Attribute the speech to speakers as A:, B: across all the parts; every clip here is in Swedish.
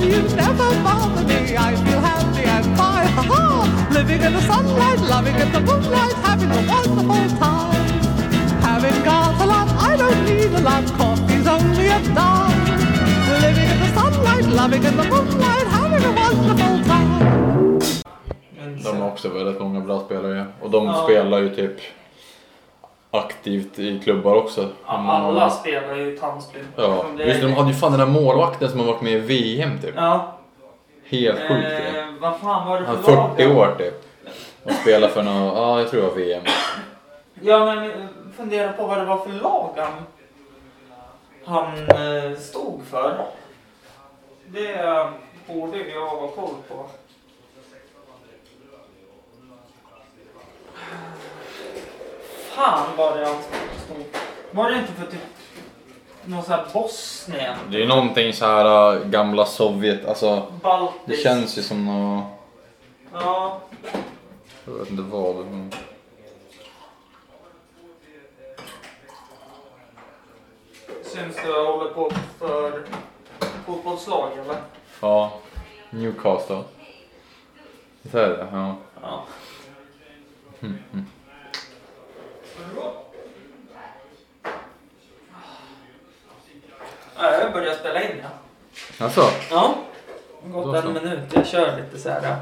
A: Dreams never bother me. I feel happy and fine. Ha ha! Living in the sunlight, loving in the moonlight, having a wonderful time. Having got a lot, I don't need a lot. Coffee's only a dime. Living in the sunlight, loving in the moonlight, having a wonderful time.
B: De har också väldigt många bra spelare och de spelar ju typ aktivt i klubbar också. Mm.
C: Alla spelar ju tandsplit.
B: Ja,
C: Men det-
B: just det, de hade ju fan den där målvakten som har varit med i VM typ.
C: Ja.
B: Helt sjukt det.
C: Eh, vad fan var det
B: Han är
C: för lag?
B: 40 år typ. Och spelar för någon, ja jag tror det var VM.
C: Ja men eh, fundera på vad det var för lag han, han eh, stod för. Det eh, borde ju jag ha koll på. Fan var det han stod Var det inte för typ någon sån här Bosnien?
B: Det är ju någonting så här äh, gamla Sovjet, alltså
C: Baltisk?
B: det känns ju som något,
C: Ja.
B: jag vet inte vad. men-
C: Syns du jag håller på för fotbollslag eller?
B: Ja, Newcastle. Så är det, ja.
C: Ja. Ja, jag börjar spela in ja.
B: Alltså,
C: Ja.
B: Då
C: Gått en
B: så.
C: minut. Jag kör lite så här. ja.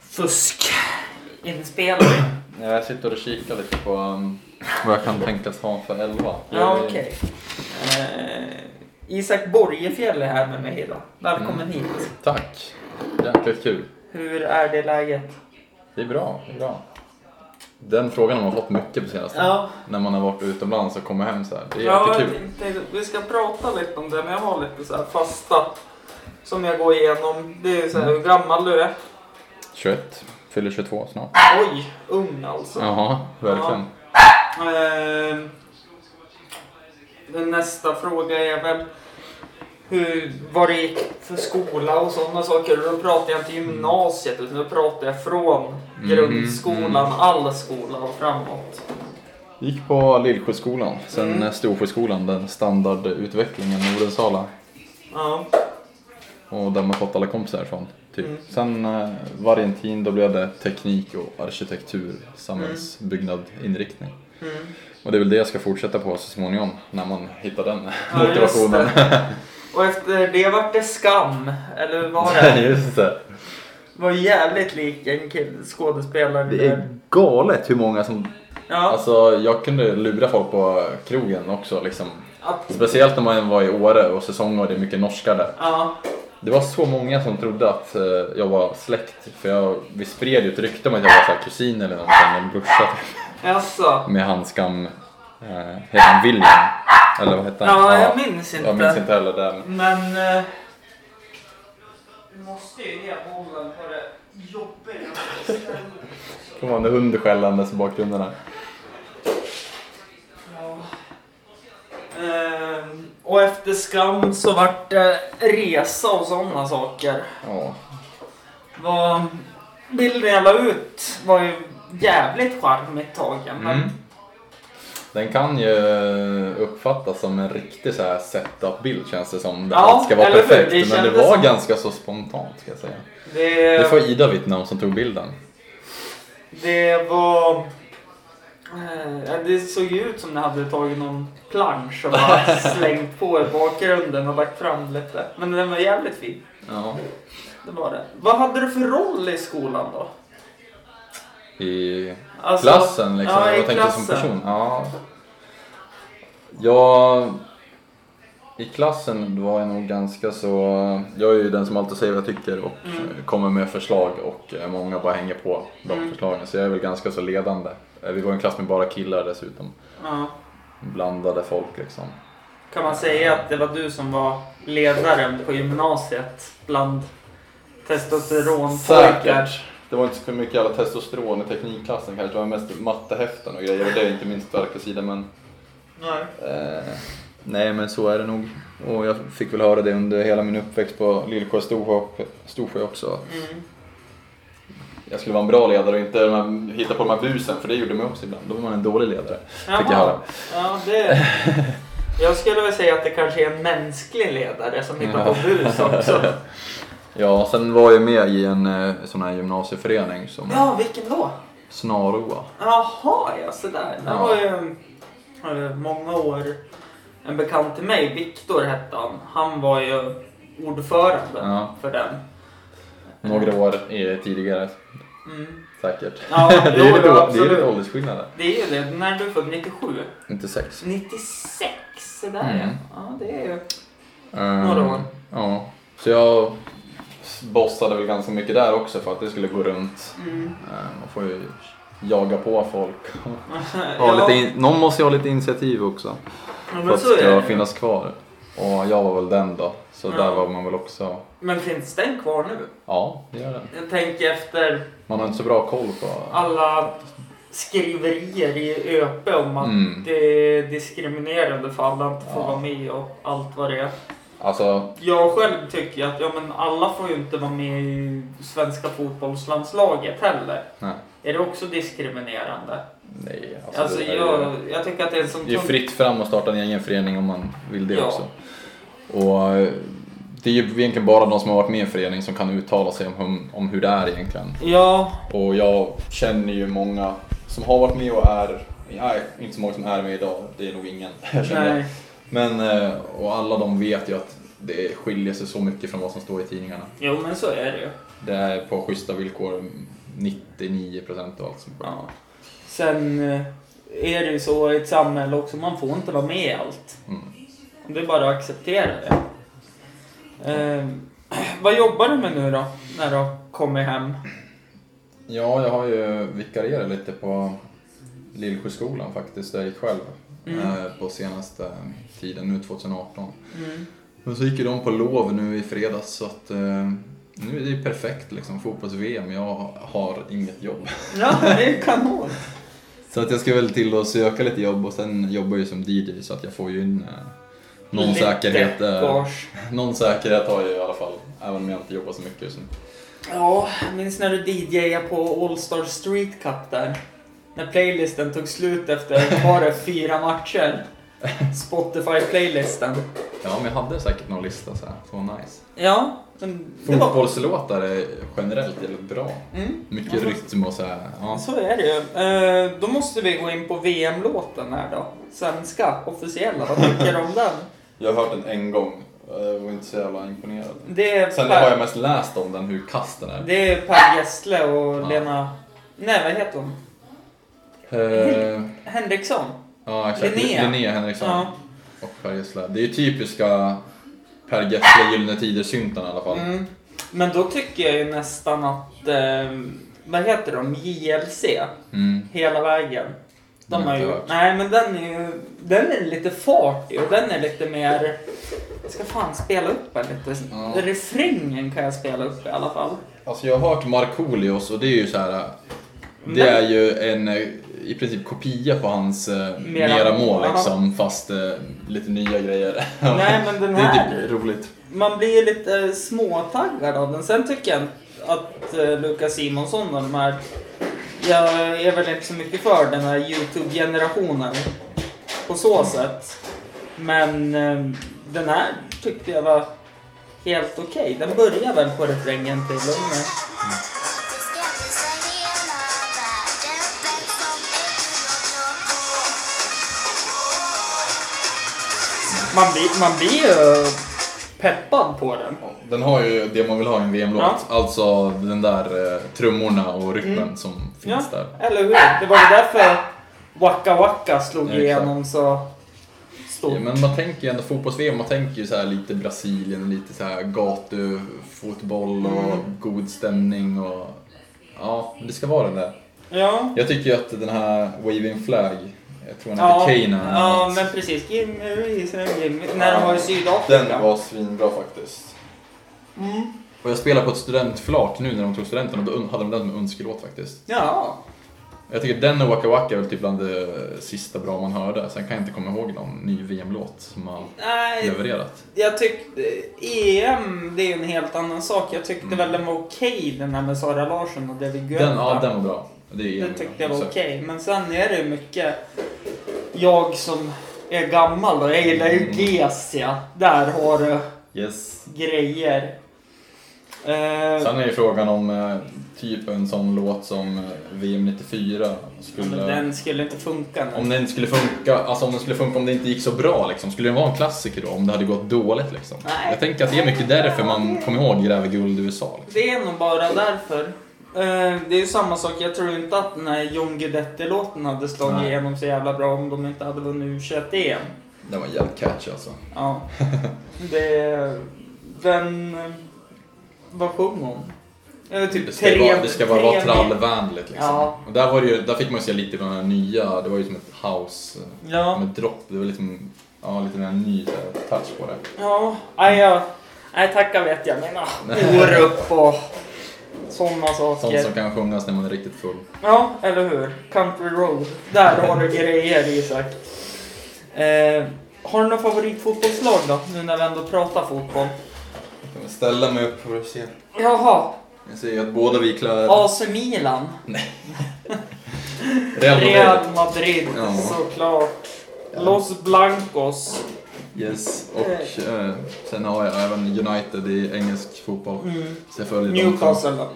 C: Fusk. Inspelning.
B: jag sitter och kikar lite på um, vad jag kan tänkas ha för elva.
C: Ja,
B: Jag-
C: okej. Eh, Isak Borgefjäll är här med mig idag. Välkommen hit.
B: Tack, jäkligt kul.
C: Hur är det läget?
B: Det är bra, det är bra. Den frågan har man fått mycket på senaste.
C: Ja.
B: När man har varit utomlands och kommer hem så här. Det är
C: Ja, jag
B: jättekul.
C: tänkte, vi ska prata lite om det, men jag har lite så här fasta som jag går igenom. Det är så här, hur gammal du är.
B: 21, fyller 22 snart.
C: Oj, ung alltså.
B: Jaha, verkligen.
C: Ehm, den nästa fråga är väl hur, vad det gick för skola och sådana saker. Då pratar jag inte gymnasiet, utan då pratar jag från
B: Mm.
C: grundskolan, all skola och framåt.
B: Gick på Lillsjöskolan, sen
C: Mm.
B: Storsjöskolan, den standardutvecklingen i Odensala.
C: Ja,
B: Och där man fått alla kompisar från. Typ.
C: Mm.
B: Sen eh, Varientin, då blev det teknik och arkitektur, samhällsbyggnad, inriktning.
C: mm.
B: Och det är väl det jag ska fortsätta på så småningom, när man hittar den
C: Ja, just
B: motivationen.
C: det. Och efter det vart det skam, eller hur var det?
B: Ja, just det.
C: var jävligt lik en kill, skådespelare.
B: Det är galet hur många som...
C: ja,
B: Alltså jag kunde lura folk på krogen också liksom.
C: att,
B: Speciellt när man var i Åre och säsongen var det mycket norskar där.
C: ja,
B: Det var så många som trodde att eh, jag var släkt. För jag, vi spred ju ett rykte om att jag var så här, kusin eller någonting, en brorsa typ.
C: alltså.
B: Med hans skam... Eh, heter han William? Eller vad hette han?
C: Ja, jag minns inte.
B: Jag minns inte heller det. men-
C: Men... Eh, vi måste ju ge bollen på det jobbiga stället.
B: Det var en hund skällandes i bakgrunden här.
C: Ja. Ehm, och efter skam så vart det resa och sådana saker.
B: Ja.
C: Vad bilden jag la ut var ju jävligt charmigt tagen. Men
B: Mm. Den kan ju uppfattas som en riktig så här setup-bild känns det som. Där
C: Ja,
B: allt ska vara
C: eller hur?
B: perfekt.
C: Det
B: men det
C: kändes
B: var
C: som-
B: ganska så spontant ska jag säga.
C: det...
B: Det får Ida vittna om som tog bilden.
C: Det var... eh, ja, Det såg ju ut som ni hade tagit någon plansch och bara slängt på i bakgrunden och lagt fram lite. Men den var jävligt fin.
B: Ja.
C: Det var det. Vad hade du för roll i skolan då?
B: I
C: Alltså-
B: klassen liksom.
C: Ja, i
B: jag tänkte som
C: klassen.
B: person. Ja. Jag... I klassen var jag nog ganska så... Jag är ju den som alltid säger vad jag tycker och
C: Mm.
B: eh, kommer med förslag och eh, många bara hänger på de
C: Mm.
B: förslagen. Så jag är väl ganska så ledande. Eh, Vi var en klass med bara killar dessutom.
C: Ja.
B: blandade folk liksom.
C: Kan man säga att det var du som var ledaren på gymnasiet bland testosteronpojkar?
B: Det var inte så mycket alla testosteron i teknikklassen kanske, det var mest mattehäften och grejer och det är inte min starka sida men...
C: Nej.
B: Eh, nej men så är det nog. Och jag fick väl höra det under hela min uppväxt på Lillsjö Storsjö, och- Storsjö också. att
C: Mm.
B: Jag skulle vara en bra ledare och inte de här- hitta på de här busen för det gjorde man också ibland. Då var man en dålig ledare. Fick jag
C: Jaha.
B: höra.
C: Ja, det... Jag skulle väl säga att det kanske är en mänsklig ledare som hittar på bus också.
B: Ja, sen var jag med i en eh, sån här gymnasieförening som
C: Ja, vilken då?
B: Snaroa.
C: Jaha, ja sådär. Det
B: Ja.
C: var ju eh, många år en bekant till mig, Viktor hette han. Han var ju ordförande
B: Ja.
C: för den.
B: Några år eh, tidigare
C: Mm.
B: säkert.
C: Ja,
B: det är
C: jo,
B: lite,
C: jo,
B: det är lite
C: absolut.
B: åldersskillnad där.
C: Det är ju det. När du är född? 97?
B: 96.
C: 96? Sådär
B: Mm.
C: ja. ja. Det är ju...
B: Ehm,
C: Några år.
B: Ja. Så jag bossade väl ganska mycket där också för att det skulle gå runt.
C: Mm.
B: Ehm, Man får ju jaga på folk.
C: Ja,
B: Ha lite in, någon måste ju ha lite initiativ också.
C: men
B: För att
C: så är
B: det
C: det.
B: ska finnas kvar. Och jag var väl den då. Så
C: Ja.
B: där var man väl också.
C: Men finns den kvar nu?
B: Ja, det gör den.
C: Jag tänker efter
B: Man har inte så bra koll på...
C: alla skriverier i ÖPE om att
B: Mm.
C: det är diskriminerande för alla inte får
B: Ja.
C: vara med och allt vad det är.
B: Alltså,
C: Jag själv tycker ju att ja, men alla får ju inte vara med i svenska fotbollslandslaget heller.
B: nej.
C: Är det också diskriminerande?
B: nej alltså,
C: Alltså,
B: det är ju-
C: jag, jag tycker att det är en sån
B: Det är ju fritt fram att starta en egen förening om man vill det
C: Ja.
B: också. Och eh, det är ju egentligen bara de som har varit med i en förening som kan uttala sig om, hum- om hur det är egentligen.
C: Ja,
B: Och jag känner ju många som har varit med och är, nej, inte så många som är med idag, det är nog ingen. Jag känner.
C: nej.
B: Men, eh, och alla de vet ju att det skiljer sig så mycket från vad som står i tidningarna.
C: Jo, men så är det ju.
B: Det är på schyssta villkor mm, 99% av allt som sker.
C: Ja. Sen eh, är det ju så i ett samhälle också, man får inte vara med i allt.
B: Mm.
C: Det är bara att acceptera det. Eh, vad jobbar du med nu då, när du har kommit hem?
B: Ja, jag har ju vikarierat lite på Lillsjöskolan faktiskt, där jag gick själv
C: Mm.
B: eh, på senaste tiden, nu 2018.
C: Mm.
B: Men så gick ju de på lov nu i fredags så att eh, nu är det ju perfekt liksom, fotbolls-VM, jag har inget jobb.
C: Ja, det är kanon!
B: Så att jag ska väl till och söka lite jobb och sen jobbar jag ju som DJ så att jag får ju in eh, någon
C: Lite
B: säkerhet. Eh,
C: bars.
B: någon säkerhet har jag ju i alla fall, även om jag inte jobbar så mycket just nu.
C: Ja, jag minns när du DJade på All Star Street Cup där? När playlisten tog slut efter bara fyra matcher. Spotify-playlisten.
B: Ja, men jag hade säkert någon lista så här, så nice.
C: Ja, men det var...
B: Fotbollslåtar är generellt jävligt bra.
C: Mm.
B: Mycket
C: Ja.
B: rytm och så här. Ja.
C: Så är det ju. Eh, Då måste vi gå in på VM-låten här då. Svenska, officiella. Vad tycker du om den?
B: Jag har hört den en gång och jag var inte så jävla imponerad.
C: Det är
B: Sen
C: Per,
B: har jag mest läst om den, hur kass den är.
C: det är per Gessle och
B: Ja.
C: Lena... Nej, vad heter hon?
B: Eh,
C: Henriksson?
B: Ja, exakt.
C: Linnea.
B: Linnea Henriksson
C: Ja.
B: och Per Gessle. Det är ju typiska Per Gessle Gyllene Tider-syntarna i alla fall.
C: Mm. Men då tycker jag ju nästan att... Eh, vad heter de? JLC?
B: Mm.
C: Hela vägen.
B: Den
C: De
B: har
C: har
B: jag
C: ju,
B: inte hört.
C: nej men den är ju den är lite fartig och den är lite mer... Jag ska fan spela upp den lite.
B: Ja.
C: Refrängen kan jag spela upp i alla fall.
B: Alltså jag har hört Markoolios och det är ju så här. Det
C: Men-
B: är ju en eh, i princip kopia på hans eh,
C: Mera-
B: mera mål
C: Aha.
B: liksom fast eh, lite nya grejer.
C: Nej, men den
B: det är
C: här-
B: typ roligt.
C: Man blir ju lite småtaggad av den. Sen tycker jag att eh, Lukas Simonsson och de här... Jag är väl inte så mycket för den här Youtube-generationen på så sätt. Men eh, den här tyckte jag var helt okej. Den börjar väl på refrängen till och med. Man blir, man blir ju peppad på den.
B: Den har ju det man vill ha i en VM-låt.
C: Ja.
B: Alltså den där eh, trummorna och rytmen
C: Mm.
B: som finns där.
C: eller hur? Det var ju därför Waka Waka slog
B: Ja, exakt.
C: igenom så stort.
B: Ja, men man tänker ju ändå fotbolls-VM, man tänker ju så här lite Brasilien, lite så här gatufotboll och
C: Mm.
B: god stämning och... Ja, det ska vara den där.
C: Ja.
B: Jag tycker ju att den här Waving Flag, jag tror han
C: Ja,
B: heter Kane eller
C: ja
B: något.
C: men precis. Gimme reason, gimme. När de var i Sydafrika.
B: Den var svinbra faktiskt.
C: Mm.
B: Och jag spelade på ett studentflak nu när de tog studenten och då un- hade de den med önskelåt faktiskt.
C: Ja.
B: Jag tycker den och Waka Waka är väl typ bland det sista bra man hörde. Sen kan jag inte komma ihåg någon ny VM-låt som har
C: Nej,
B: levererat.
C: jag tyckte... EM, det är ju en helt annan sak. Jag tyckte
B: Mm.
C: väl den var okej den här med Sara Larsson och David Guetta.
B: Den, ja, den var bra. Det, är
C: Det tyckte jag
B: så.
C: var okej. Men sen är det ju mycket jag som är gammal då. Jag gillar ju
B: Mm.
C: Gesia. Där har du
B: Yes.
C: grejer. Eh,
B: Sen är ju frågan om eh, typ en sån låt som eh, VM 94 skulle...
C: men den skulle inte funka nu.
B: Om den skulle funka, alltså om den skulle funka om det inte gick så bra liksom, skulle den vara en klassiker då? Om det hade gått dåligt liksom?
C: Nej.
B: Jag tänker att det är mycket därför man kommer ihåg Gräver guld i USA. Liksom.
C: Det är nog bara därför. Eh, det är ju samma sak, jag tror inte att den här John Guidetti-låten hade slagit
B: Nej.
C: igenom så jävla bra om de inte hade vunnit U21 EM.
B: Den var jävligt catchy alltså.
C: Ja. Det... Den... Vad sjöng hon? Det var typ
B: Det ska, vara, det ska bara vara trallvänligt liksom.
C: Ja.
B: Och där, var det ju, där fick man ju se lite från den här nya, det var ju som ett house
C: Ja.
B: med dropp, det var liksom, ja lite den här ny eh, touch på det.
C: Ja, nej, jag, nej tacka vet jag men ah, Orup och sådana
B: Sånt
C: saker.
B: som kan sjungas när man är riktigt full.
C: Ja, eller hur? Country Road. Där har du grejer Isak. Eh, har du något favoritfotbollslag då? Nu när vi ändå pratar fotboll.
B: Jag kan väl ställa mig upp för att se.
C: Jaha,
B: Jag ser ju att båda vi klär
C: AC Milan.
B: Real Madrid.
C: Real Madrid,
B: Ja.
C: såklart. Los Blancos.
B: Yes, och eh, sen har jag även United i engelsk fotboll.
C: Mm.
B: Så jag följer dem.
C: Newcastle då?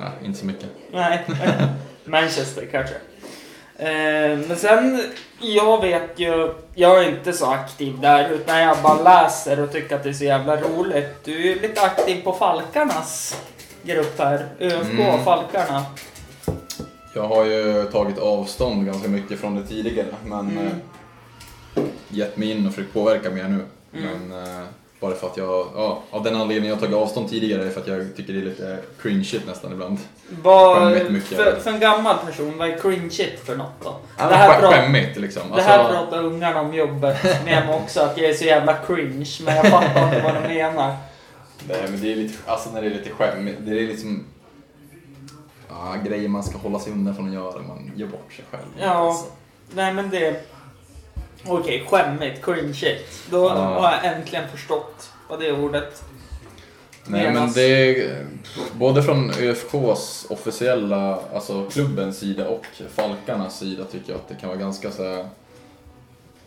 B: Nej, inte så mycket.
C: Nej. Manchester kanske. Eh, men sen, jag vet ju, jag är inte så aktiv där utan jag bara läser och tycker att det är så jävla roligt. Du är lite aktiv på Falkarnas grupp här, ÖFK
B: Mm.
C: Falkarna.
B: Jag har ju tagit avstånd ganska mycket från det tidigare, men
C: Mm.
B: eh, gett mig in och försökt påverka mer nu.
C: Mm.
B: Men eh, bara för att jag, ja, av den anledningen jag har tagit avstånd tidigare är för att jag tycker det är lite cringeigt nästan ibland.
C: Vad,
B: Skämmigt mycket.
C: för, för en gammal person, vad är cringe för något då?
B: Det
C: det, här pratar,
B: Skämmigt liksom.
C: det här
B: Alltså,
C: pratar ungarna om jobbet med mig också, att jag är så jävla cringe, men jag fattar inte vad de menar.
B: Nej men det är lite, alltså när det är lite skämmigt, det är liksom ja, grejer man ska hålla sig undan från att göra, man gör bort sig själv.
C: Ja.
B: Alltså.
C: Nej men det... Okej, skämmigt, cringeigt. Då
B: Ja.
C: har jag äntligen förstått vad det ordet...
B: Nej men
C: Menas.
B: det är både från ÖFKs officiella, alltså klubbens sida och Falkarnas sida tycker jag att det kan vara ganska så här,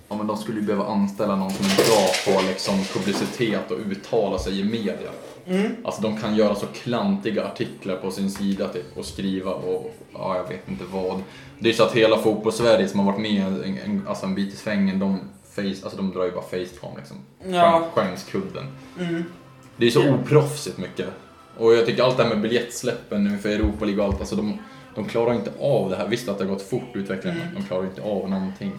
B: Ja men de skulle ju behöva anställa någon som är bra på liksom publicitet och uttala sig i media.
C: Mm.
B: Alltså de kan göra så klantiga artiklar på sin sida typ och skriva och ja, jag vet inte vad. Det är så att hela fotbollssverige som har varit med en, en, alltså en bit i svängen, de, face, alltså de drar ju bara facepalm liksom.
C: Ja.
B: Skäms- Skämskudden.
C: Mm.
B: Det är så oproffsigt mycket. Och jag tycker allt det här med biljettsläppen nu för Europa League och allt, alltså de, de klarar inte av det här. Visst att det har gått fort utvecklingen,
C: Mm.
B: men de klarar inte av någonting.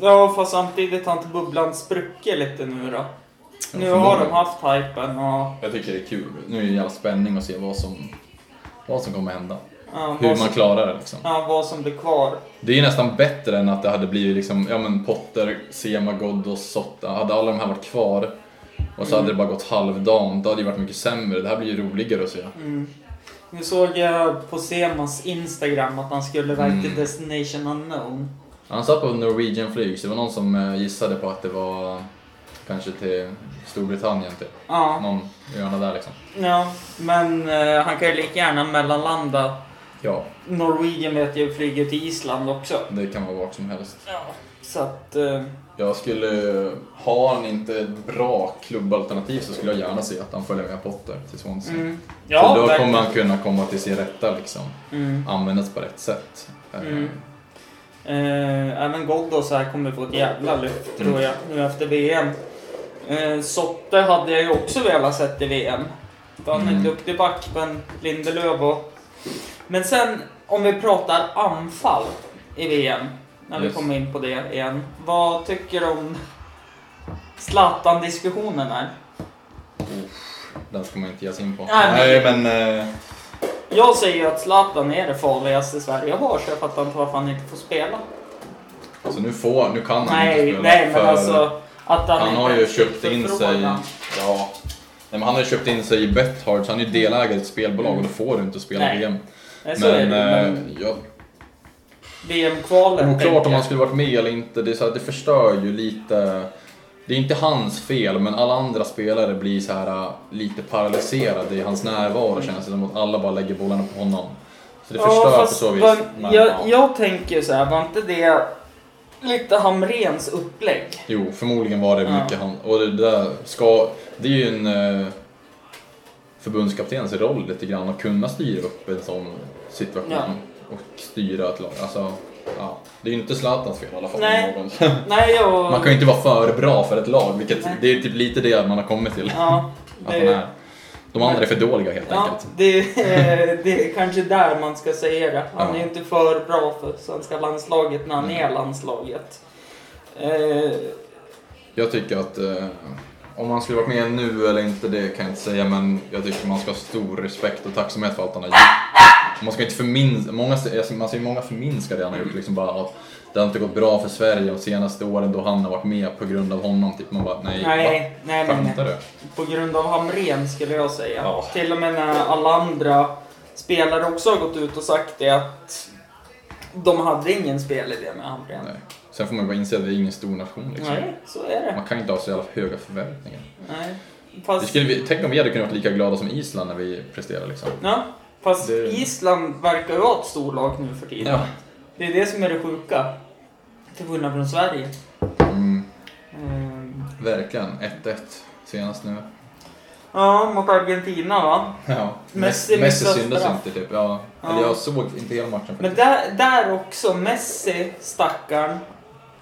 C: Ja, fast samtidigt har inte bubblan spruckit lite nu då. Nu
B: förmodligen.
C: har de haft hypen och...
B: Jag tycker det är kul. Nu är det jävla spänning att se vad som, vad som kommer hända.
C: Ja,
B: Hur
C: vad
B: man
C: som,
B: klarar det liksom.
C: ja, vad som blir kvar.
B: Det är ju nästan bättre än att det hade blivit liksom, ja men Potter, Sema, Ghoddos, Sotta. Hade alla de här varit kvar och
C: Mm.
B: så hade det bara gått halvdant, då hade det varit mycket sämre. Det här blir ju roligare att se.
C: Mm. Nu såg jag på Semas Instagram att han skulle iväg
B: Mm.
C: till Destination Unknown.
B: Han satt på Norwegian flyg, så det var någon som eh, gissade på att det var kanske till Storbritannien typ.
C: Ja,
B: Någon öarna där liksom.
C: ja. men eh, han kan ju lika gärna mellanlanda.
B: Ja,
C: Norwegian vet jag flyger till Island också.
B: det kan vara vart som helst.
C: Ja, så att... eh,
B: Jag skulle, har han inte ett bra klubbalternativ så skulle jag gärna se att han följer med Potter till Swansea.
C: Mm.
B: För då
C: verkligen.
B: kommer han kunna komma till sin rätta liksom.
C: Mm.
B: Användas på rätt sätt. Eh,
C: Mm. Eh, även Ghoddos här kommer få ett jävla lyft
B: Mm.
C: tror jag nu efter VM. Eh, Sotte hade jag ju också velat sett i VM. För han är
B: Mm.
C: en duktig back, men Lindelöf och... Men sen om vi pratar anfall i VM. När vi
B: Yes.
C: kommer in på det igen. Vad tycker du om Zlatan-diskussionen här?
B: Den ska man inte ge sig in på.
C: Nej,
B: men... eh,
C: Jag säger ju att Zlatan är det farligaste Sverige har så jag fattar inte varför han inte får spela.
B: alltså nu får, nu kan han inte
C: Nej,
B: spela.
C: nej men
B: för-
C: alltså att han,
B: Han
C: inte
B: har ju
C: ens
B: köpt
C: fick
B: in sig...
C: förfrågan.
B: Ja. Nej, men han har ju köpt in sig i Bethard, så han är ju delägare i ett spelbolag och då får du inte spela
C: Nej.
B: VM.
C: Nej, så är
B: Men,
C: det, ju,
B: eh,
C: men
B: ja,
C: VM-kvalet.
B: oklart
C: tänker
B: om han
C: jag.
B: skulle varit med eller inte. Det, är så här, det förstör ju lite. Det är inte hans fel, men alla andra spelare blir så här äh, lite paralyserade i hans närvaro känns det som. Att alla bara lägger bollarna på honom. Så det förstör på
C: fast
B: så vis.
C: vad-
B: men,
C: jag,
B: ja.
C: jag tänker så här, var inte det lite Hamrens upplägg.
B: Jo, förmodligen var det
C: Ja.
B: mycket han... Och det där ska... Det är ju en eh, förbundskaptenens roll lite grann att kunna styra upp en sån situation.
C: Ja.
B: Och styra ett lag. Alltså, ja. Det är ju inte Zlatans fel i alla fall.
C: Nej.
B: Någon.
C: Nej, jag...
B: Man kan ju inte vara för bra för ett lag, vilket
C: Nej.
B: det är typ lite det man har kommit till.
C: Ja,
B: Att man är,
C: det,
B: de andra är för dåliga helt
C: ja,
B: enkelt.
C: det, är- det är kanske där man ska säga det. Han
B: Ja. Mm.
C: är inte för bra för svenska landslaget när han är landslaget. Eh,
B: Jag tycker att eh, om han skulle varit med nu eller inte, det kan jag inte säga, men jag tycker man ska ha stor respekt och tacksamhet för allt han har gjort. Man ska inte förminska, många, alltså, man ser ju många förminska det han har gjort, liksom bara att det har inte gått bra för Sverige de senaste åren då han har varit med på grund av honom. Typ man bara, nej, va?
C: nej, nej, nej,
B: Skämtar
C: nej.
B: du?
C: På grund av Hamren skulle jag säga.
B: Ja.
C: Till och med när alla andra spelare också har gått ut och sagt det att de hade ingen spelidé med Hamren.
B: Nej. Sen får man ju bara inse att vi är ingen stor nation liksom.
C: Nej, så är det.
B: Man kan ju inte ha så jävla höga förväntningar.
C: Nej.
B: Vi
C: Fast,
B: skulle, vi- tänk om vi hade kunnat vara lika glada som Island när vi presterar liksom.
C: ja, fast
B: Det-
C: Island verkar ju vara ett storlag nu för tiden.
B: Ja.
C: Det är det som är det sjuka. Till skillnad från Sverige.
B: Mm,
C: Ehm,
B: verkligen. 1-1 senast nu.
C: Ja, mot Argentina va?
B: Ja.
C: Messi
B: Messi,
C: missar
B: Messi syndas
C: straff.
B: inte typ. Ja.
C: Ja.
B: Eller jag såg inte hela matchen
C: Men
B: faktiskt.
C: där, där också, Messi, stackarn.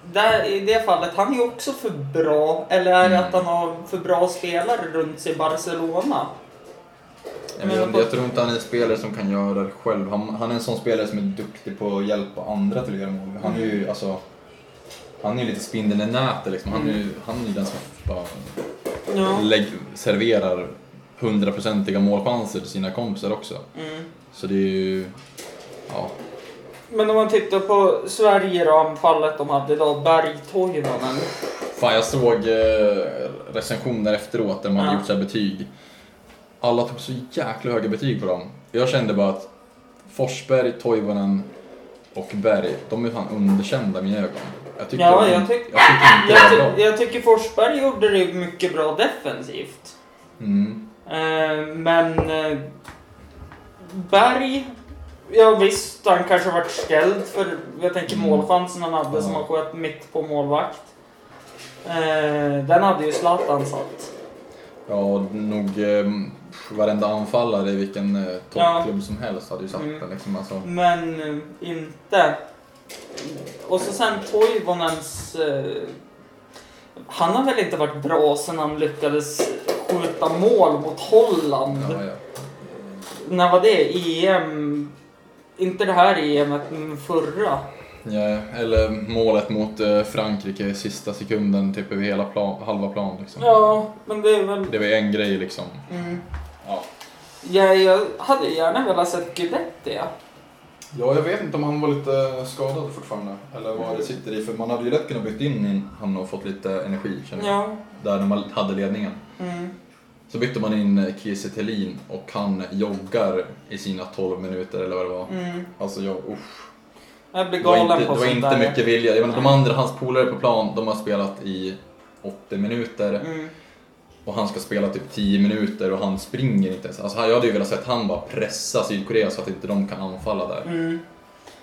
C: Där, I det fallet, han är ju också för bra. Eller är det
B: Mm.
C: att han har för bra spelare runt sig i Barcelona?
B: Jag, vet inte, jag tror inte han är en spelare som kan göra det själv. Han, han är en sån spelare som är duktig på att hjälpa andra till att göra mål. Han är ju alltså... Han är ju lite spindeln i nätet liksom. Han är ju han är ju den som bara
C: Ja.
B: lägg, serverar hundraprocentiga målchanser till sina kompisar också.
C: Mm.
B: Så det är ju... Ja.
C: Men om man tittar på Sverige då, anfallet de hade idag, Bergtoivonen.
B: Fan, jag såg eh, recensioner efteråt där man hade
C: Ja.
B: gjort så här betyg. Alla tog så jäkla höga betyg på dem. Jag kände bara att Forsberg, Toivonen och Berg, de är fan underkända i mina ögon. Jag tycker,
C: Ja,
B: de,
C: jag tyck-
B: jag tycker inte
C: Jag,
B: det var
C: ty-
B: bra.
C: jag tycker Forsberg gjorde det mycket bra defensivt.
B: Mm.
C: Eh, men eh, Berg, ja visst han kanske varit ställd för, jag tänker
B: Mm.
C: målchansen han hade som
B: Ja.
C: han sköt mitt på målvakt. Eh, den hade ju Zlatan satt.
B: Ja, nog eh, varenda anfallare i vilken eh, toppklubb som helst hade ju satt
C: Mm.
B: den liksom. Alltså.
C: Men eh, inte. Och så sen Toivonens... Eh, han har väl inte varit bra sen han lyckades skjuta mål mot Holland.
B: Ja, ja.
C: När var det? EM? Inte det här EMet, men förra.
B: Ja, eller målet mot eh, Frankrike i sista sekunden, typ över hela plan, halva plan liksom.
C: Ja, men det är väl...
B: Det var ju en grej liksom.
C: Mm.
B: Ja.
C: Ja, jag hade gärna velat sett Guidetti. ja.
B: Ja, jag vet inte om han var lite skadad fortfarande. Eller vad det sitter i. För man hade ju lätt kunnat byta in in han och fått lite energi, känner jag.
C: Ja.
B: Där när man hade ledningen.
C: Mm.
B: Så bytte man in Kiese Thelin och han joggar i sina 12 minuter eller vad det var.
C: Mm.
B: Alltså jag, usch.
C: Jag blir
B: Det var
C: galen
B: inte, det
C: på
B: var
C: sånt
B: inte
C: där.
B: mycket vilja. Jag menar, de
C: Nej.
B: andra, hans polare på plan, de har spelat i 80 minuter.
C: Mm.
B: Och han ska spela typ 10 minuter och han springer inte ens. Alltså jag hade ju velat sett han bara pressa Sydkorea så att inte de kan anfalla där.
C: Mm.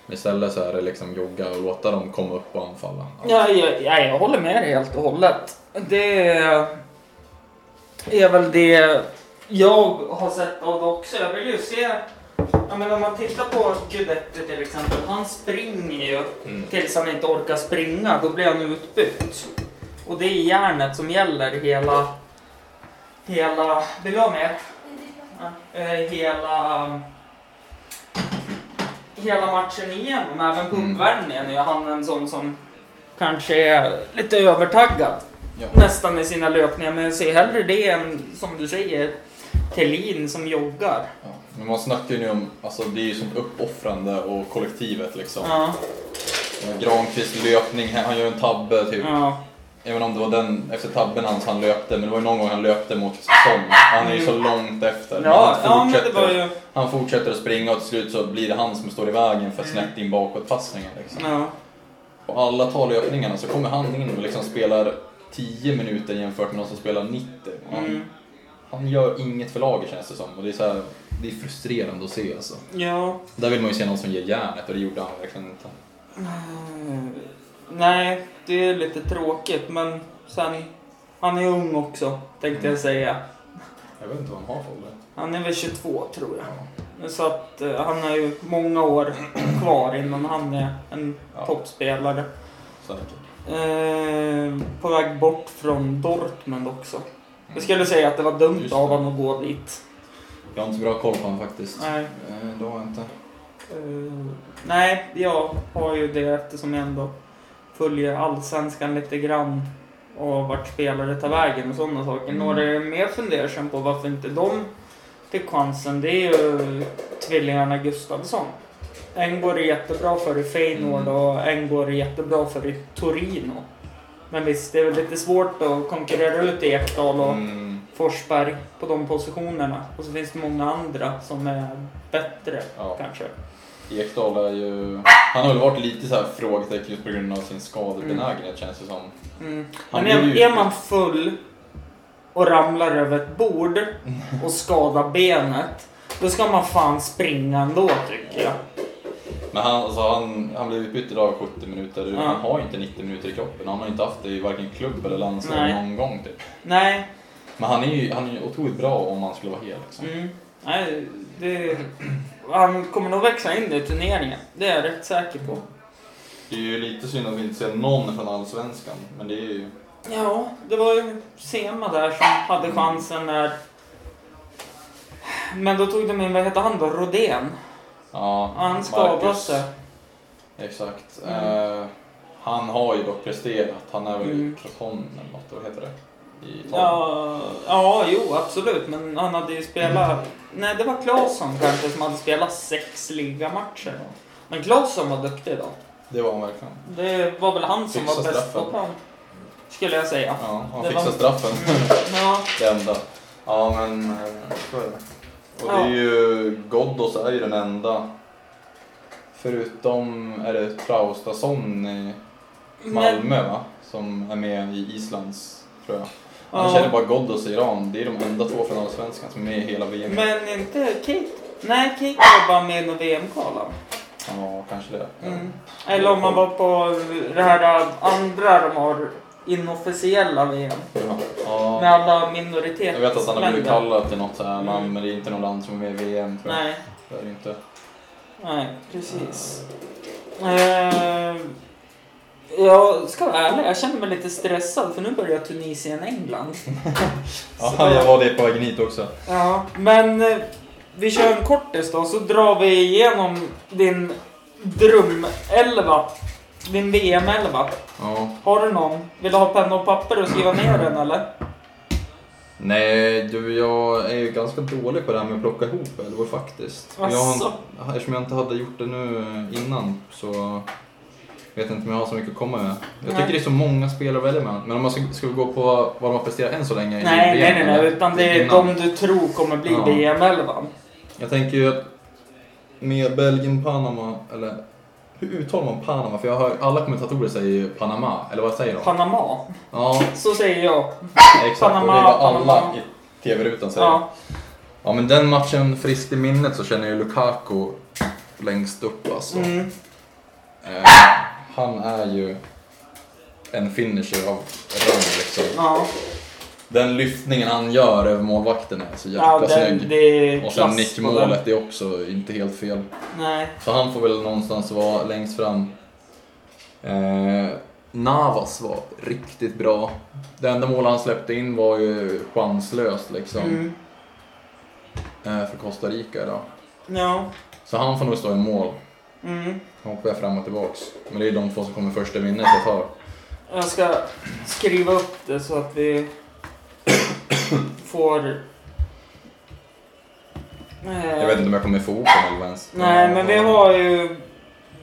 B: Men Istället så är det liksom jogga och låta dem komma upp och anfalla.
C: Ja, jag, ja, jag håller med dig helt och hållet. Det är väl det jag har sett av det också. Jag vill ju se... Ja, men om man tittar på Guidetti till exempel. Han springer ju
B: Mm.
C: tills han inte orkar springa. Då blir han utbytt. Och det är järnet som gäller hela... Hela... Vill du ha mer? Ja, eh, hela... Hela matchen igenom, även på
B: Mm.
C: uppvärmningen, är han en sån som kanske är lite övertaggad
B: Ja.
C: nästan i sina löpningar. Men jag ser hellre det än, som du säger, Thelin som joggar.
B: Ja. Men man snackar ju nu om, alltså det är ju som uppoffrande och kollektivet liksom.
C: Ja,
B: Granqvist löpning, han gör en tabbe typ.
C: ja,
B: Även om det var den, efter tabben hans han löpte, men det var ju någon gång han löpte mot Song. Han är ju så långt efter. men
C: Mm. ja,
B: han
C: ja, men det
B: fortsätter.
C: var ju...
B: Han fortsätter att springa och till slut så blir det han som står i vägen för
C: Mm.
B: snett in bakåtpassningen. Liksom.
C: Ja,
B: Och alla tar löpningarna så kommer han in och liksom spelar 10 minuter jämfört med någon som spelar 90. Och Han,
C: mm,
B: han gör inget för laget känns det som. Och det är, så här, det är frustrerande att se alltså.
C: ja.
B: Där vill man ju se någon som ger järnet och det gjorde han verkligen inte.
C: Mm. Nej, det är lite tråkigt men sen... Han är ung också, tänkte jag säga.
B: Jag vet inte vad han har för ålder.
C: Han är väl 22 tror jag. Så att eh, han har ju många år kvar innan han är en
B: Ja.
C: toppspelare.
B: Säkert.
C: Eh, på väg bort från Dortmund också. Jag skulle säga att det var dumt
B: Just det.
C: av honom att gå dit.
B: Mm. Jag har inte så bra koll på honom faktiskt.
C: Nej,
B: Eh, Det har jag inte.
C: eh, nej, jag har ju det eftersom jag ändå följer allsvenskan lite grann och vart spelare tar vägen och sådana saker.
B: Mm.
C: Några jag är mer fundersam på varför inte de fick chansen, det är ju tvillingarna Gustafsson. En går jättebra för i Feyenoord
B: Mm.
C: och en går jättebra för i Torino. Men visst, det är väl lite svårt att konkurrera ut Ekdal och
B: Mm,
C: Forsberg på de positionerna. Och så finns det många andra som är bättre
B: ja.
C: kanske.
B: Ekdal är ju... Han har väl varit lite så här frågetecken just på grund av sin skadebenägenhet känns det som.
C: Mm.
B: Han
C: Men
B: blir
C: är,
B: ju-
C: är man full och ramlar över ett bord och skadar benet, då ska man fan springa ändå tycker jag.
B: Men han, alltså, han, han blev utbytt idag 70 minuter.
C: Ja.
B: Han har ju inte 90 minuter i kroppen. Han har inte haft det i varken klubb eller landslag
C: Nej.
B: någon gång typ.
C: Nej,
B: Men han är ju, han är ju otroligt bra om han skulle vara hel liksom.
C: mm. Nej det... han kommer nog växa in i turneringen. Det är jag rätt säker på.
B: Det är ju lite synd att vi inte ser någon från Allsvenskan. Men det är ju...
C: Ja, det var ju Sema där som hade chansen när... Men då tog de in, vad hette han då, Rodén?
B: Ja,
C: Han skadade
B: Marcus.
C: sig.
B: Exakt.
C: Mm.
B: Eh, han har ju dock presterat. Han är väl
C: Mm.
B: i Crotone eller något, vad heter det? I Italien.
C: Ja, ja, jo absolut. Men han hade ju
B: Mm.
C: spelat... Nej, det var Claesson kanske som hade spelat sex ligamatcher. Men Claesson var duktig då.
B: Det var han verkligen.
C: Det var väl han som
B: Fixa
C: var bäst på
B: straffen.
C: plan. Skulle jag säga.
B: Ja, han
C: Det
B: fixar
C: var-
B: straffen.
C: Mm, ja,
B: det enda. Ja, men... eh, så är det. Och det är ju... Ghoddos är ju den enda. Förutom, är det Traustason i
C: men,
B: Malmö va? Som är med i Islands, tror jag. Han känner
C: ja,
B: bara Ghoddos i Iran. Det är de enda två från Allsvenskan som är med i hela VM.
C: men inte Kate. Nej, Kate var bara med i någon VM-kvalan.
B: Ja, kanske det. Ja.
C: Mm. Eller om man var på det här andra de har, inofficiella VM.
B: Ja. Ja.
C: Med alla minoriteter.
B: Jag vet att han har blivit kallad till något så här namn,
C: Mm.
B: men det är inte något land som är med i VM tror jag.
C: Nej,
B: Det är det inte.
C: nej, precis. Eh, jag ska vara ärlig, jag känner mig lite stressad för nu börjar Tunisien-England.
B: Ja,
C: Så-
B: jag var det på vägen hit också.
C: Ja, men eh, vi kör en kortis då, så drar vi igenom din dröm-elva. Din VM-elva.
B: Ja.
C: Har du någon? Vill du ha penna och papper och skriva ner den eller?
B: Nej, du, jag är ju ganska dålig på det här med att plocka ihop elvor faktiskt. Jag
C: Asså?
B: har, eftersom jag inte hade gjort det nu innan så vet jag inte om jag har så mycket att komma med. Jag
C: Nej.
B: tycker det är så många spelare att välja mellan. Men om man ska, ska vi gå på vad de har presterat än så länge i
C: Nej, nej,
B: VM,
C: nej, nej,
B: eller?
C: utan det är
B: Innan.
C: de du tror kommer bli
B: Mm. Ja.
C: VM-elvan.
B: Jag tänker ju att med Belgien, Panama, eller hur uttalar man Panama? För jag hör alla kommentatorer säger ju Panama, eller vad säger de?
C: Panama.
B: ja,
C: Så säger jag.
B: exakt. och det är
C: Panama,
B: vad alla
C: Panama.
B: i TV-rutan säger. Ja.
C: Ja.
B: men den matchen friskt i minnet så känner jag ju Lukaku längst upp alltså.
C: Mm.
B: Eh, han är ju en finisher av rang liksom.
C: Ja.
B: Den lyftningen han gör över målvakten är så jäkla
C: Ja, den,
B: snygg.
C: det är
B: Och sen
C: klass på den.
B: nickmålet är också inte helt fel.
C: Nej.
B: Så han får väl någonstans vara längst fram. Eh, Navas var riktigt bra. Det enda mål han släppte in var ju chanslöst liksom.
C: Mm.
B: Eh, för Costa Rica idag.
C: Ja.
B: Så han får nog stå i mål.
C: Mm.
B: Han hoppar fram och tillbaks. Men det är de två som kommer först i minnet jag tar.
C: Jag ska skriva upp det så att vi får... Eh,
B: Jag vet inte om jag kommer få ihop dem eller ens.
C: Nej, men vi har ju...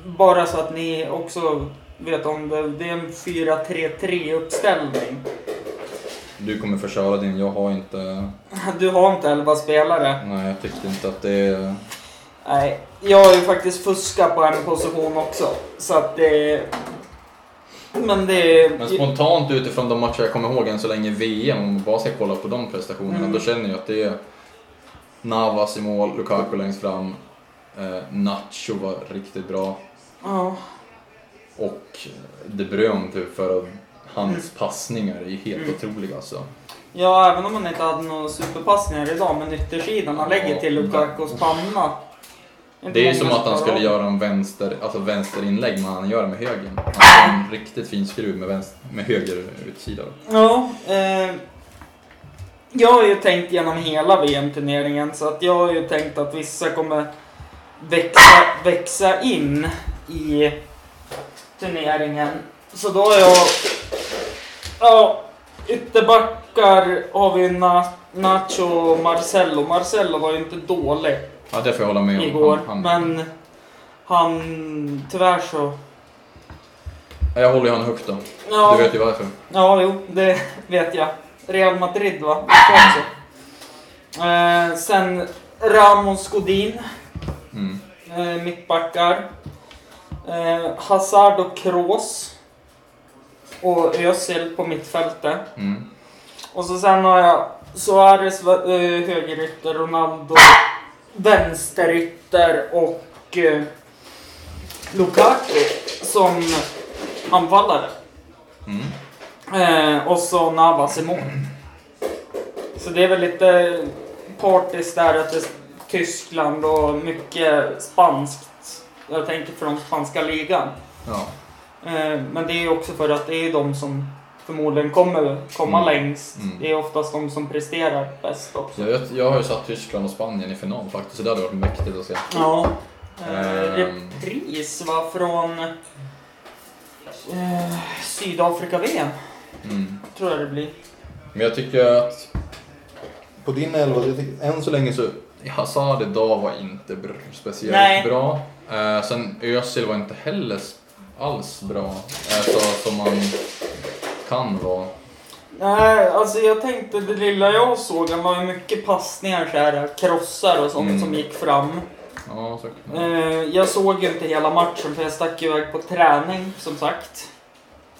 C: Bara så att ni också vet om det. Det är en 4-3-3 uppställning.
B: Du kommer få köra din, jag har inte...
C: Du har inte 11 spelare.
B: Nej, jag tyckte inte att det...
C: Nej, jag har ju faktiskt fuskat på en position också. Så att det... Men det...
B: Men spontant utifrån de matcher jag kommer ihåg än så länge i VM, om man bara ska kolla på de prestationerna,
C: Mm.
B: då känner jag att det är Navas i mål, Lukaku längst fram, eh, Nacho var riktigt bra.
C: Ja.
B: Och De Bruyne typ för att hans passningar är helt
C: Mm.
B: otroliga alltså.
C: Ja, även om han inte hade några superpassningar idag, men yttersidan han lägger till Lukakos panna. Inte
B: Det är ju som
C: många
B: att han
C: klarar
B: skulle
C: av.
B: göra en vänster, alltså vänsterinlägg men han gör det med högern.
C: Ah.
B: Han har en riktigt fin skruv med, vänster, med höger utsida.
C: Ja, eh, jag har ju tänkt genom hela VM-turneringen så att jag har ju tänkt att vissa kommer växa, växa in i turneringen. Så då har jag... Ja, ytterbackar har vi Na, Nacho och Marcello. Marcello var ju inte dålig
B: Ja, det får jag hålla med om.
C: igår,
B: Han- han-
C: men han... Tyvärr så...
B: Jag håller ju honom högt då.
C: Ja,
B: Du vet ju varför.
C: Ja, jo, det vet jag. Real Madrid, va? Det tror jag också. Eh, sen Ramos Godin,
B: Mm.
C: eh, mittbackar. Eh, Hazard och Kroos. Och Özil på mittfältet.
B: Mm.
C: Och så sen har jag Suarez, va- eh, högerytter, Ronaldo, vänsterytter och eh, Lukaku som anfallare.
B: Mm.
C: Eh, och så Navas i mål. Så det är väl lite partiskt där att det är Tyskland och mycket spanskt. Jag tänker från spanska ligan.
B: Ja.
C: Eh, men det är ju också för att det är de som förmodligen kommer komma
B: Mm.
C: längst.
B: Mm.
C: Det är oftast de som presterar bäst också.
B: Jag, vet- jag har ju satt Tyskland och Spanien i final faktiskt, så det hade varit mäktigt att se.
C: Ja. Eh,
B: Ehm.
C: repris var från eh, Sydafrika-VM,
B: Mm.
C: tror jag det blir.
B: Men jag tycker att på din elva, jag tycker, än så länge så Hazard idag var inte br- speciellt
C: Nej.
B: bra. Eh, sen Özil var inte heller s- alls bra, eh, så, som man kan vara.
C: Nej, alltså jag tänkte det lilla jag såg, han var ju mycket passningar så här, krossar och sånt
B: Mm.
C: som gick fram.
B: Ja, så kan man.
C: Eh, jag såg ju inte hela matchen för jag stack iväg på träning som sagt.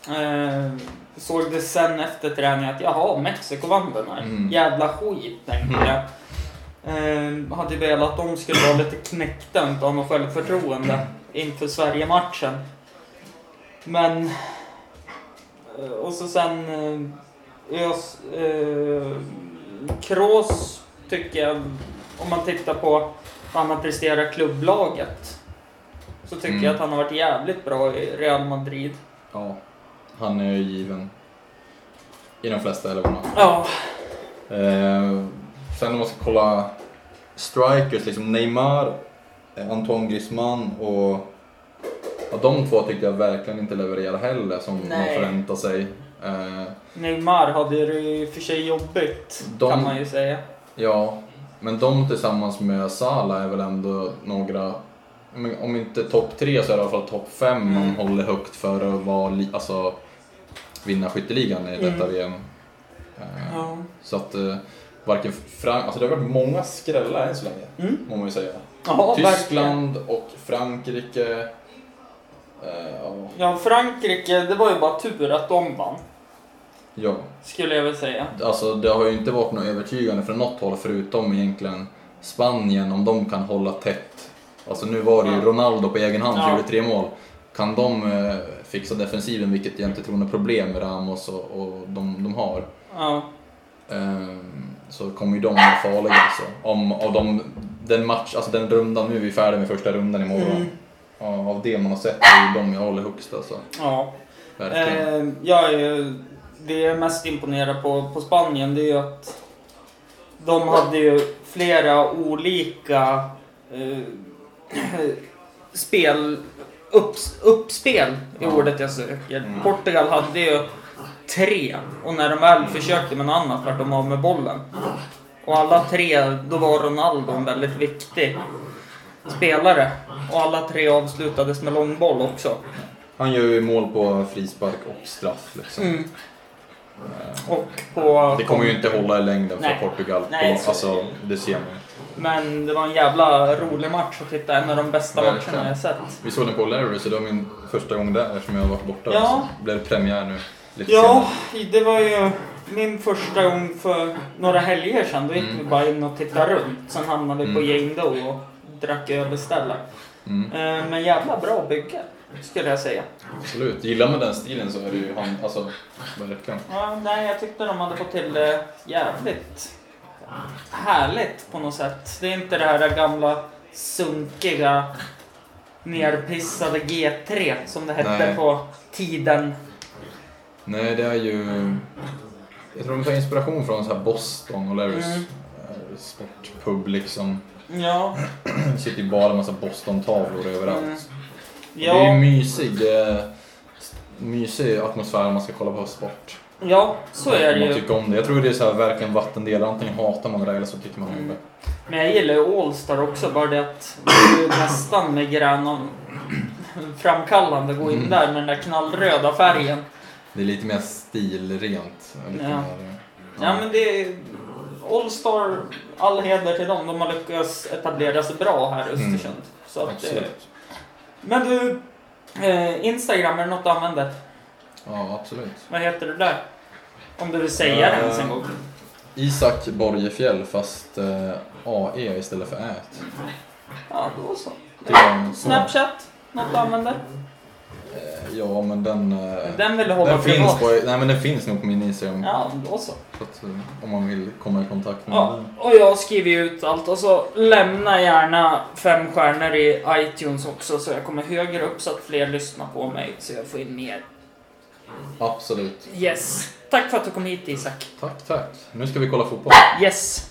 C: Eh, såg det sen efter träning att jaha, Mexiko vann den här.
B: Mm.
C: Jävla skit tänkte jag. Eh, hade velat att de skulle vara lite knäckta och inte ha något självförtroende inför Sverige-matchen. Men... eh, Och så sen... eh, Ös, eh, Kroos tycker jag, om man tittar på vad han har presterat klubblaget. Så tycker
B: Mm.
C: jag att han har varit jävligt bra i Real Madrid.
B: ja, han är ju given i de flesta elvorna.
C: Ja,
B: Eh, sen om man ska kolla strikers, liksom Neymar, eh, Antoine Griezmann och ja, de två tyckte jag verkligen inte levererar heller som man
C: Nej.
B: förväntar sig. Eh,
C: Neymar hade det ju i och för sig jobbigt
B: De-
C: kan man ju säga.
B: ja, men de tillsammans med Salah är väl ändå några, men om inte topp tre så är det i alla fall topp fem man
C: Mm.
B: håller högt för att vara, li- alltså, vinna skytteligan i detta
C: Mm.
B: VM. Eh,
C: Ja.
B: Så att eh, varken Frank... Alltså det har varit många skrällar än så länge,
C: Mm.
B: må man ju säga.
C: Ja, verkligen.
B: Tyskland och Frankrike. Eh, ja.
C: Ja, Frankrike, det var ju bara tur att de vann.
B: ja,
C: Skulle jag vilja säga.
B: alltså det har ju inte varit något övertygande från något håll förutom egentligen Spanien, om de kan hålla tätt. Alltså nu var det ju
C: Ja.
B: Ronaldo på egen hand som
C: Ja.
B: gjorde tre mål. Kan de eh, fixa defensiven, vilket jag inte tror är något problem med Ramos och, och de, de har,
C: Ja.
B: Ehm, så kommer ju de vara farliga alltså. Om, av de, den match, alltså den rundan, nu är vi färdiga med första rundan imorgon.
C: Mm.
B: Ja, Av det man har sett är ju de jag håller högst alltså.
C: ja.
B: Verkligen.
C: Eh, jag är ju, det jag är mest imponerad på, på Spanien det är ju att de hade ju flera olika eh, spel, upps, uppspel i
B: Ja.
C: ordet jag söker.
B: Mm.
C: Portugal hade ju tre och när de
B: Mm.
C: väl försökte med något annat vart de av med bollen. Och alla tre, då var Ronaldo en väldigt viktig spelare. Och alla tre avslutades med långboll också.
B: Han gör ju mål på frispark och straff liksom.
C: Mm. Och på...
B: Det kommer ju inte hålla i längden för
C: Nej.
B: Portugal.
C: Nej,
B: på,
C: så-
B: alltså, det ser man ju.
C: Men det var en jävla rolig match att titta. En av de bästa
B: Verkligen.
C: matcherna jag sett.
B: Vi såg den på Larry, så det var min första gång där som jag har varit borta.
C: Ja.
B: Alltså. Det blev premiär nu. Lite
C: Ja,
B: senare.
C: det var ju min första gång för några helger sedan. Då gick
B: Mm.
C: vi bara in och tittade runt. Sen hamnade vi på
B: Mm.
C: Jane Doe och drack öl istället.
B: Mm.
C: Eh, Men jävla bra bygge. skulle jag säga.
B: Absolut. Gillar man den stilen så är det ju han, alltså verkligen.
C: Ja, nej, jag tyckte de hade fått till det jävligt härligt på något sätt. Det är inte det här där gamla sunkiga nerpissade G3 som det hette
B: Nej.
C: på tiden.
B: Nej, det är ju... Jag tror de tar inspiration från så här Boston och Larrys
C: Mm.
B: eh, sportpub liksom.
C: Ja,
B: sitter ju bara en massa Boston-tavlor överallt.
C: Mm.
B: Det är ju
C: ja,
B: mysig, eh, mysig atmosfär om man ska kolla på sport.
C: ja, så är det
B: man
C: ju.
B: tycker om det. Jag tror det är så här verkligen vattendelare. Antingen hatar man det där eller så tycker man om
C: Mm.
B: det.
C: Men jag gillar ju Allstar också, bara det att det är ju nästan migrän framkallande att gå
B: Mm.
C: in där med den där knallröda färgen.
B: Det är lite mer stilrent. Lite
C: Ja.
B: mer, eh,
C: Ja men det är Allstar, all heder till dem. De har lyckats etablera sig bra här i
B: Mm.
C: Östersund. Så att, eh,
B: Absolut.
C: men du, eh, Instagram, är det något du använder?
B: Ja, absolut.
C: Vad heter du där? Om du vill säga det ens en gång.
B: Isak Borgefjäll fast eh, AE istället för ät.
C: Ja, då så.
B: Det var en sån-
C: Snapchat, något du använder?
B: Ja, men den... eh,
C: Den vill du hålla
B: den finns,
C: privat.
B: på, nej, men den finns nog på min Instagram.
C: Ja, då så.
B: Så att, eh, om man vill komma i kontakt med
C: Ja,
B: den.
C: och jag skriver ju ut allt och så lämna gärna fem stjärnor i iTunes också så jag kommer högre upp så att fler lyssnar på mig så jag får in mer.
B: Absolut.
C: Yes. Tack för att du kom hit Isak.
B: Tack, tack. Nu ska vi kolla fotboll.
C: Yes.